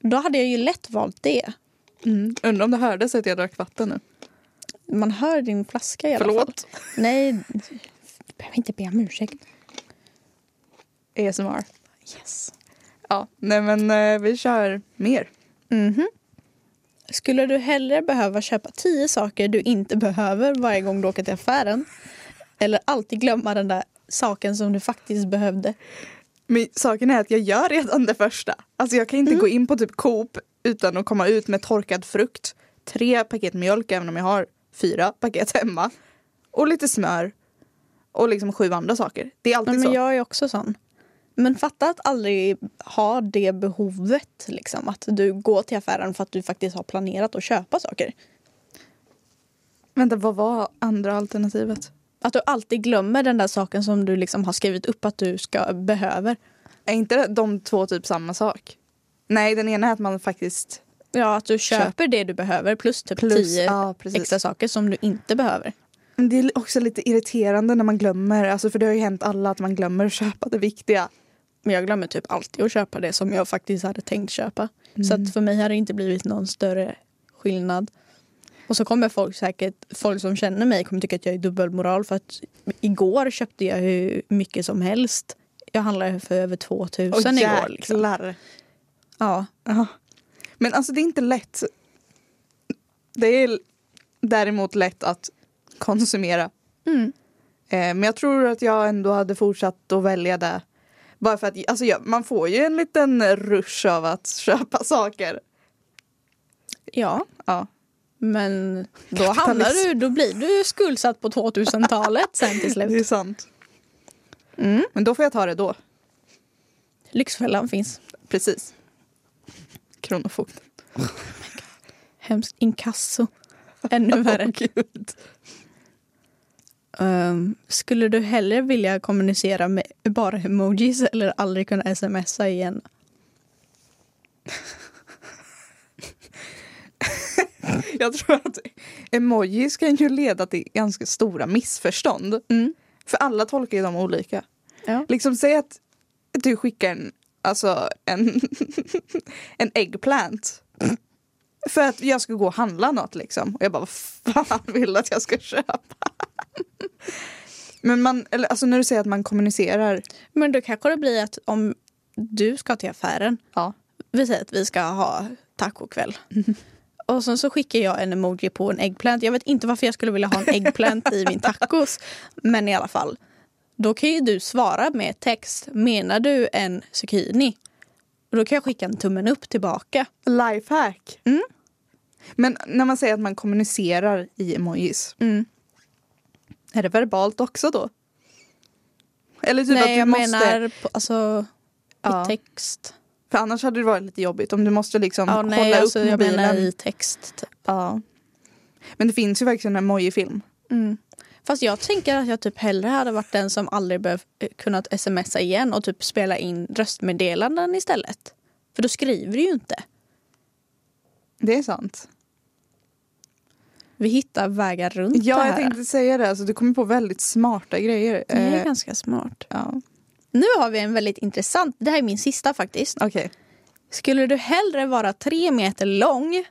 Då hade jag ju lätt valt det. Mm. Undrar om det hördes att jag drack vatten nu. Man hör din flaska i alla fall. Förlåt. Nej, du behöver inte be om ursäkt. ASMR. Yes. Ja, nej men eh, vi kör mer. Mhm. Skulle du hellre behöva köpa tio saker du inte behöver varje gång du åker till affären? Eller alltid glömma den där saken som du faktiskt behövde? Men saken är att jag gör redan det första. Alltså jag kan inte Mm. gå in på typ Coop utan att komma ut med torkad frukt, tre paket mjölk även om jag har fyra paket hemma och lite smör och liksom sju andra saker. Det är Ja, alltid men så. jag är också sån. Men fatta att aldrig ha det behovet, liksom, att du går till affären för att du faktiskt har planerat att köpa saker. Vänta, vad var andra alternativet? Att du alltid glömmer den där saken som du liksom har skrivit upp att du ska behöver. Är inte de två typ samma sak? Nej, den ena är att man faktiskt... Ja, att du köper det du behöver plus typ Plus- tio ja, precis. extra saker som du inte behöver. Men Det är också lite irriterande när man glömmer, alltså för det har ju hänt alla att man glömmer att köpa det viktiga. Men jag glömmer typ alltid att köpa det som jag faktiskt hade tänkt köpa. Så Mm. att för mig har det inte blivit någon större skillnad. Och så kommer folk säkert, folk som känner mig kommer tycka att jag är dubbelmoral för att igår köpte jag hur mycket som helst. Jag handlade för över 2000 Åh, igår. Liksom. jäklar. Ja. Ja. Men alltså det är inte lätt. Det är däremot lätt att konsumera. Mm. Eh, men jag tror att jag ändå hade fortsatt att välja det. Bara för att alltså, ja, man får ju en liten rush av att [laughs] köpa saker. ja, Ja. men då hamnar du, då blir du skuldsatt på 2000-talet sen till Det är [laughs] slut. sant. Mm. Men då får jag ta det då. Lyxfällan finns. Precis. Kronofogden. Hemskt [laughs] inkasso. Ännu värre. Åh, gud. Ehm, skulle du hellre vilja kommunicera med bara emojis eller aldrig kunna smsa igen? Jag tror att emojis kan ju leda till ganska stora missförstånd. Mm. För alla tolkar ju dem olika. Ja. Liksom säg att du skickar en, alltså en, [laughs] en eggplant. För att jag ska gå och handla något liksom. Och jag bara, vad fan vill du att jag ska köpa? [laughs] Men man, eller, alltså när du säger att man kommunicerar. Men då kanske det blir att om du ska till affären, Ja. vi säger att vi ska ha tacokväll. Och sen så skickar jag en emoji på en äggplant. Jag vet inte varför jag skulle vilja ha en äggplant i min tacos. Men i alla fall. Då kan ju du svara med text. Menar du en zucchini? Och då kan jag skicka en tummen upp tillbaka. Lifehack. Mm. Men när man säger att man kommunicerar i emojis, Mm. är det verbalt också då? Eller typ att Nej, du jag måste... liksom menar på, alltså, Ja. i text. För annars hade det varit lite jobbigt om du måste liksom Ja, kolla nej, upp alltså, jag mobilen. menar i text. Typ. Ja. Men det finns ju verkligen en emoji-film. Mm. Fast jag tänker att jag typ hellre hade varit den som aldrig behövt eh, kunnat smsa igen och typ spela in röstmeddelanden istället. För då skriver du ju inte. Det är sant. Vi hittar vägar runt det Mm. Ja, här. jag tänkte säga det. Alltså, du kommer på väldigt smarta grejer. Det är Eh, ganska smart. ja. Nu har vi en väldigt intressant, det här är min sista faktiskt. Okej. Skulle du hellre vara tre meter lång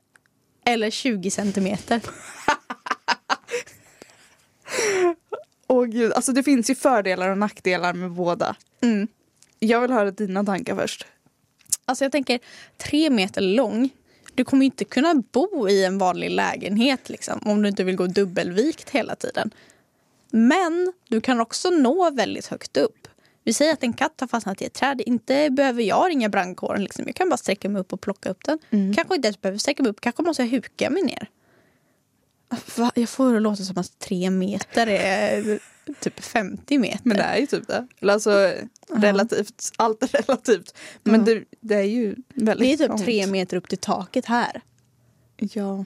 eller 20 centimeter? Åh gud, alltså det finns ju fördelar och nackdelar med båda. Mm. Jag vill höra dina tankar först. Alltså jag tänker, tre meter lång, du kommer ju inte kunna bo i en vanlig lägenhet liksom, om du inte vill gå dubbelvikt hela tiden. Men du kan också nå väldigt högt upp. Vi säger att en katt har fastnat i ett träd. Inte behöver jag ringa brandkåren. Liksom. Jag kan bara sträcka mig upp och plocka upp den. Mm. Kanske inte ens behöver sträcka mig upp. Kanske måste jag huka mig ner. Va? Jag får det att låta som att tre meter är typ 50 meter. Men det är ju typ det. Eller alltså relativt, allt är relativt. Men Ja. det, det är ju det är väldigt typ trångt. tre meter upp till taket här. Ja.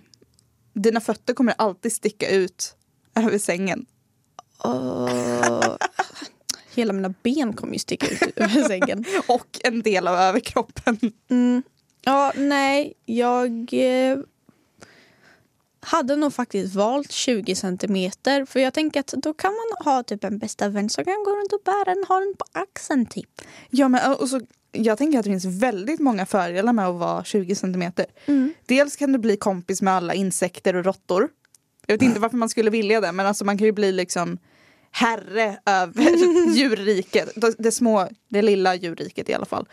Dina fötter kommer alltid sticka ut över sängen. Åh. Hela mina ben kommer ju sticka ut ur sängen. Och en del av överkroppen. Mm. Ja, nej, jag eh, hade nog faktiskt valt 20 centimeter. För jag tänker att då kan man ha typ en bästa vän som kan gå runt och bära den, ha den på axeln typ. Ja, men, och så, jag tänker att det finns väldigt många fördelar med att vara 20 centimeter. Dels kan du bli kompis med alla insekter och råttor. Jag vet inte varför man skulle vilja det, men alltså man kan ju bli liksom herre [laughs] över djurriket. Det, det, små, det lilla djurriket i alla fall.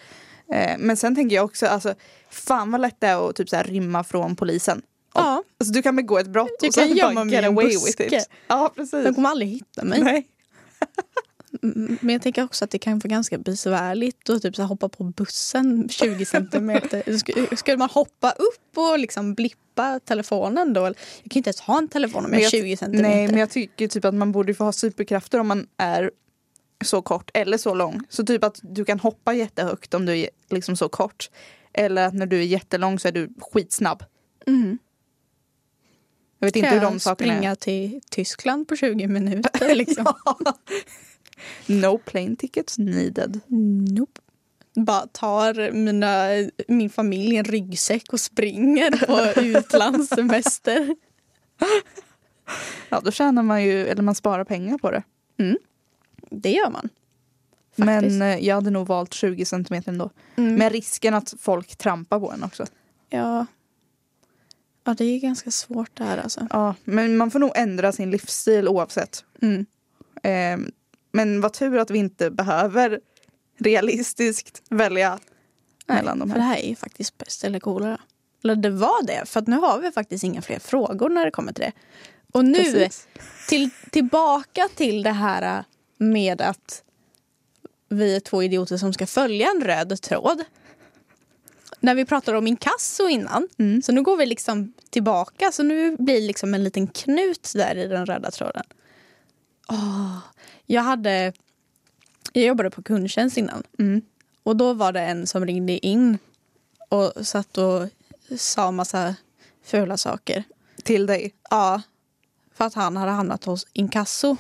Eh, men sen tänker jag också, alltså, fan vad lätt det är att typ, så här, rymma från polisen. Och, Ja. Alltså, du kan begå ett brott Jag och kan sen gömma bara mig i get en away with buske. it. Ja, precis. De kommer aldrig hitta mig. Nej. Mm, Men jag tänker också att det kan vara ganska besvärligt att typ så här hoppa på bussen 20 centimeter. Sk- Skulle man hoppa upp och liksom blippa telefonen då? Eller- Jag kan ju inte ens ha en telefon om jag är jag- 20 centimeter. Nej, men jag tycker typ att man borde få ha superkrafter om man är så kort eller så lång. Så typ att du kan hoppa jättehögt om du är liksom så kort. Eller att när du är jättelång så är du skitsnabb. Mm. Jag vet inte Kan hur jag de sakerna springa är. till Tyskland på 20 [laughs] minuter? Liksom. No plane tickets needed. Nope. Bara tar mina, min familj en ryggsäck och springer [laughs] på utlandssemester. Ja, då tjänar man ju, eller man sparar pengar på det. Det gör man. Faktiskt. Men eh, jag hade nog valt 20 centimeter ändå. Mm. Med risken att folk trampar på en också. Ja. ja, det är ganska svårt det här alltså. Ja, men man får nog ändra sin livsstil oavsett. Mm. Ehm, men vad tur att vi inte behöver realistiskt välja mellan de För det här. här är ju faktiskt bäst eller coolare. Eller det var det, för att nu har vi faktiskt inga fler frågor när det kommer till det. Och nu, Precis. till, tillbaka till det här med att vi är två idioter som ska följa en röd tråd. När vi pratade om inkasso innan, Mm. så nu går vi liksom tillbaka. Så nu blir liksom en liten knut där i den röda tråden. Åh, jag hade... Jag jobbade på kundtjänst innan. Mm. Och då var det en som ringde in och satt och sa massa fula saker. Till dig. Ja, för att han hade hamnat hos inkasso.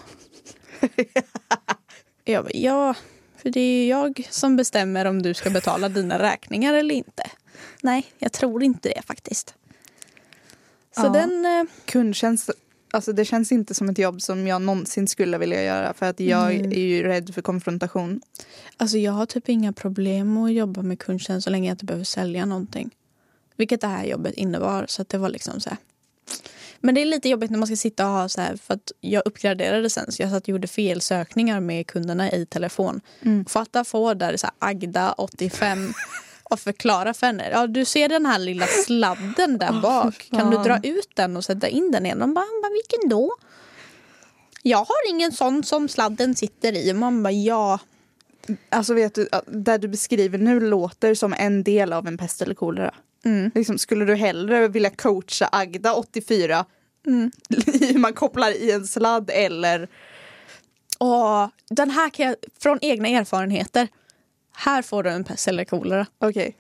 jag bara, ja, för det är ju jag som bestämmer om du ska betala dina räkningar eller inte. Nej, jag tror inte det faktiskt. Så Ja. den... eh, Kundtjänst, alltså det känns inte som ett jobb som jag någonsin skulle vilja göra för att jag är ju rädd för konfrontation. Alltså jag har typ inga problem att jobba med kundtjänst så länge jag inte behöver sälja någonting. Vilket det här jobbet innebar. Så att det var liksom så här. Men det är lite jobbigt när man ska sitta och ha så här för att jag uppgraderade sen så jag satt och gjorde felsökningar med kunderna i telefon. Fatta få där så här Agda 85 och förklara för henne. Ja, du ser den här lilla sladden där bak. Kan du dra ut den och sätta in den igen? De bara, "Men vilken då? Jag har ingen sån som sladden sitter i. Och man bara, ja. Alltså vet du, där du beskriver nu låter som en del av en pest eller kolera. Mm. Liksom, skulle du hellre vilja coacha Agda 84 Mm. i hur [laughs] man kopplar i en sladd eller Åh, den här kan jag, från egna erfarenheter. Här får du en pest eller kolera. Okej.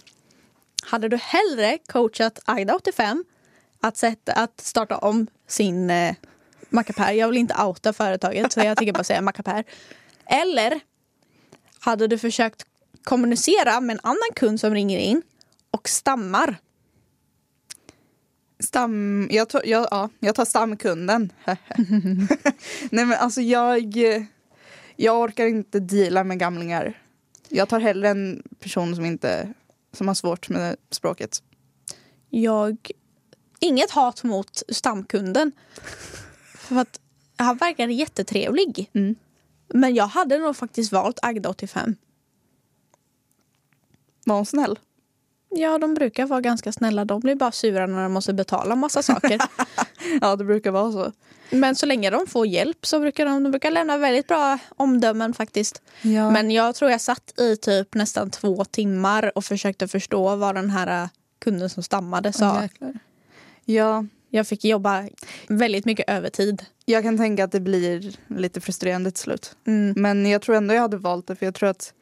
Hade du hellre coachat Agda 85 att, sätta, att starta om sin eh, mackapär? Jag vill inte outa företaget så jag tänker bara säga mackapär. Eller hade du försökt kommunicera med en annan kund som ringer in och stammar? Stam... Jag, tar- jag, ja, jag tar stamkunden. [laughs] Nej men alltså jag... Jag orkar inte deala med gamlingar. Jag tar hellre en person som inte... Som har svårt med språket. Jag... Inget hat mot stamkunden. För att han verkade jättetrevlig. Mm. Men jag hade nog faktiskt valt Agda 85. Var hon snäll? Ja, de brukar vara ganska snälla. De blir bara sura när de måste betala massa [laughs] saker. Ja det brukar vara så. Men så länge de får hjälp så brukar de, de brukar lämna väldigt bra omdömen faktiskt. Ja. Men jag tror jag satt i typ nästan två timmar och försökte förstå vad den här äh, kunden som stammade sa. Åh, jäklar. Ja, Jag fick jobba väldigt mycket övertid. jag kan tänka att det blir lite frustrerande till slut. Mm. Men jag tror ändå jag hade valt det för jag tror att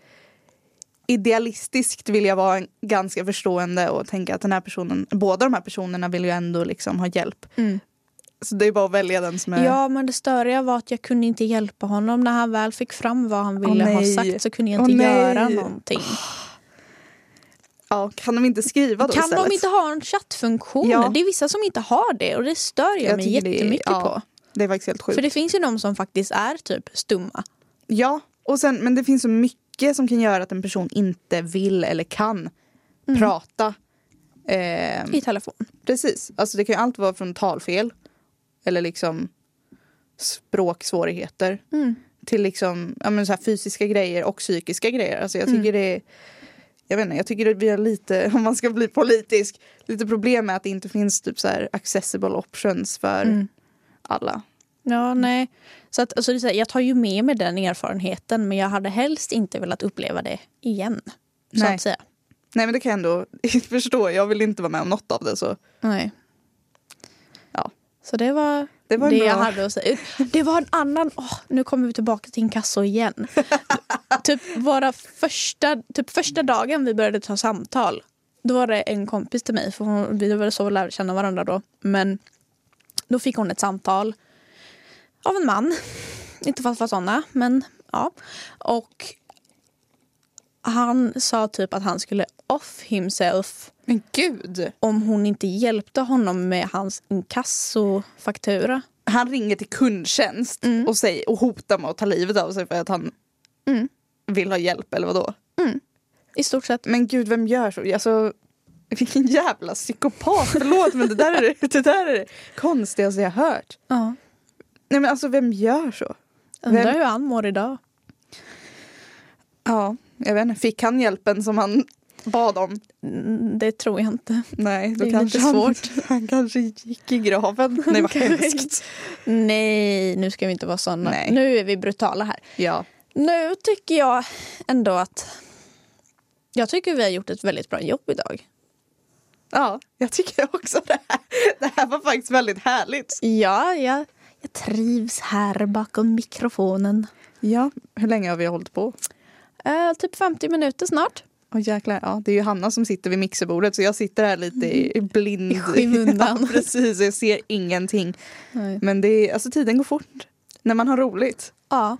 idealistiskt vill jag vara en- ganska förstående och tänka att den här personen, båda de här personerna vill ju ändå liksom ha hjälp. Mm. Så det är bara att välja den som är... Ja, men det störiga var att jag kunde inte hjälpa honom. När han väl fick fram vad han Åh, ville ha nej. sagt så kunde jag Åh, inte nej. göra någonting. Ja, kan de inte skriva då Kan istället? de inte ha en chattfunktion? Ja. Det är vissa som inte har det och det stör jag, mig tycker det är- jättemycket ja, på. Det är faktiskt helt sjukt. För det finns ju de som faktiskt är typ stumma. Ja, och sen, men det finns så mycket som kan göra att en person inte vill eller kan Mm. prata. Ehm, i telefon. Precis. Alltså det kan ju allt vara från talfel eller liksom språksvårigheter till liksom, ja, men så här fysiska grejer och psykiska grejer. Alltså jag tycker det är, jag vet inte, jag tycker att vi har lite, [laughs] om man ska bli politisk, lite problem med att det inte finns typ så här accessible options för Mm. alla. Ja, nej. Så att, alltså, det är så här, jag tar ju med mig den erfarenheten men jag hade helst inte velat uppleva det igen. Så Nej. att säga. Nej men det kan jag ändå [laughs] förstå, jag vill inte vara med om något av det så Nej. Ja. Så det var det var en det bra. jag hade att säga. Det var en annan... Åh, nu kommer vi tillbaka till inkasso igen. [laughs] typ våra första, typ första dagen vi började ta samtal då var det en kompis till mig, för hon, vi var så vi lärde känna varandra då. Men då fick hon ett samtal av en man. [laughs] Inte för att vara såna, men ja. Och han sa typ att han skulle off himself Men gud! om hon inte hjälpte honom med hans inkassofaktura. Han ringer till kundtjänst och, säger, och hotar med att ta livet av sig för att han Mm. vill ha hjälp eller vadå? I stort sett. Men gud, vem gör så? Alltså, vilken jävla psykopat! Förlåt, men det där är det, det, där är det konstigaste jag hört. Ja. Nej, men alltså, vem gör så? Undrar Vem- hur han mår idag. Ja, jag vet inte. Fick han hjälpen som han bad om? Mm, Det tror jag inte. Nej, då Det är kanske lite han, svårt. han kanske gick i [laughs] graven. Nej, vad Kanske. hemskt. Nej, nu ska vi inte vara såna. Nej. Nu är vi brutala här. Ja. Nu tycker jag ändå att... Jag tycker vi har gjort ett väldigt bra jobb idag. ja, jag tycker också det här. Det här var faktiskt väldigt härligt. Ja, jag, jag trivs här bakom mikrofonen. Ja, hur länge har vi hållit på? Eh, typ 50 minuter snart. Åh jäklar, ja, det är ju Hanna som sitter vid mixerbordet så jag sitter här lite i i blind. I skymundan. [laughs] Ja, precis, jag ser ingenting. Nej. Men det är, alltså tiden går fort när man har roligt. Ja.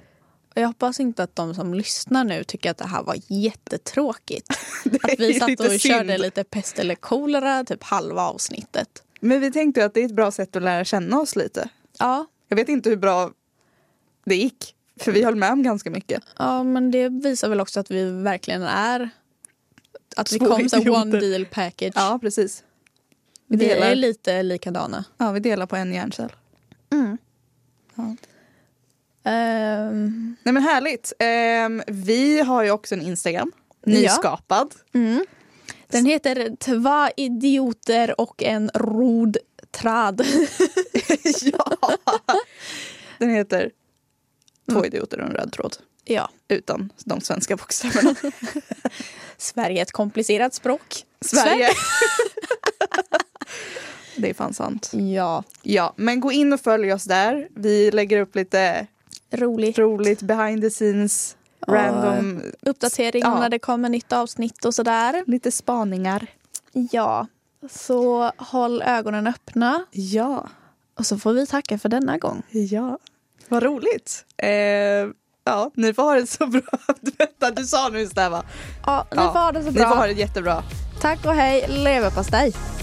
Och jag hoppas inte att de som lyssnar nu tycker att det här var jättetråkigt. [laughs] Det Att [laughs] vi är satt lite och körde synd. lite pest eller kolera typ halva avsnittet. Men vi tänkte ju att det är ett bra sätt att lära känna oss lite. Ja, Jag vet inte hur bra det gick, för vi höll med om ganska mycket. ja men det visar väl också att vi verkligen är... Att vi Två kom som idioter. one deal package. Ja, precis. vi delar. är lite likadana. Ja, vi delar på en hjärncell. Mm. Ehm, Nej men härligt. Ehm, vi har ju också en Instagram, nyskapad. mm. den heter Tva idioter och en rod trad. [laughs] ja. Den heter Två idioter och en röd tråd. ja, Utan de svenska bokstäverna. Sverige är ett komplicerat språk. [laughs] Sverige. [laughs] Det är fan sant. Ja. Ja, men gå in och följ oss där. Vi lägger upp lite Roligt. roligt behind the scenes, Och random, Uppdatering om Ja. när det kommer nytt avsnitt och sådär. lite spaningar. Ja. Så håll ögonen öppna. Ja, Och så får vi tacka för denna gång. ja. Vad roligt. Eh, ja, ni får ha det så bra. [laughs] Vänta, du sa nu just det här va? Ja, ni Ja, får ha det så Ni får ha bra. det jättebra. Tack och hej. Leverpastej.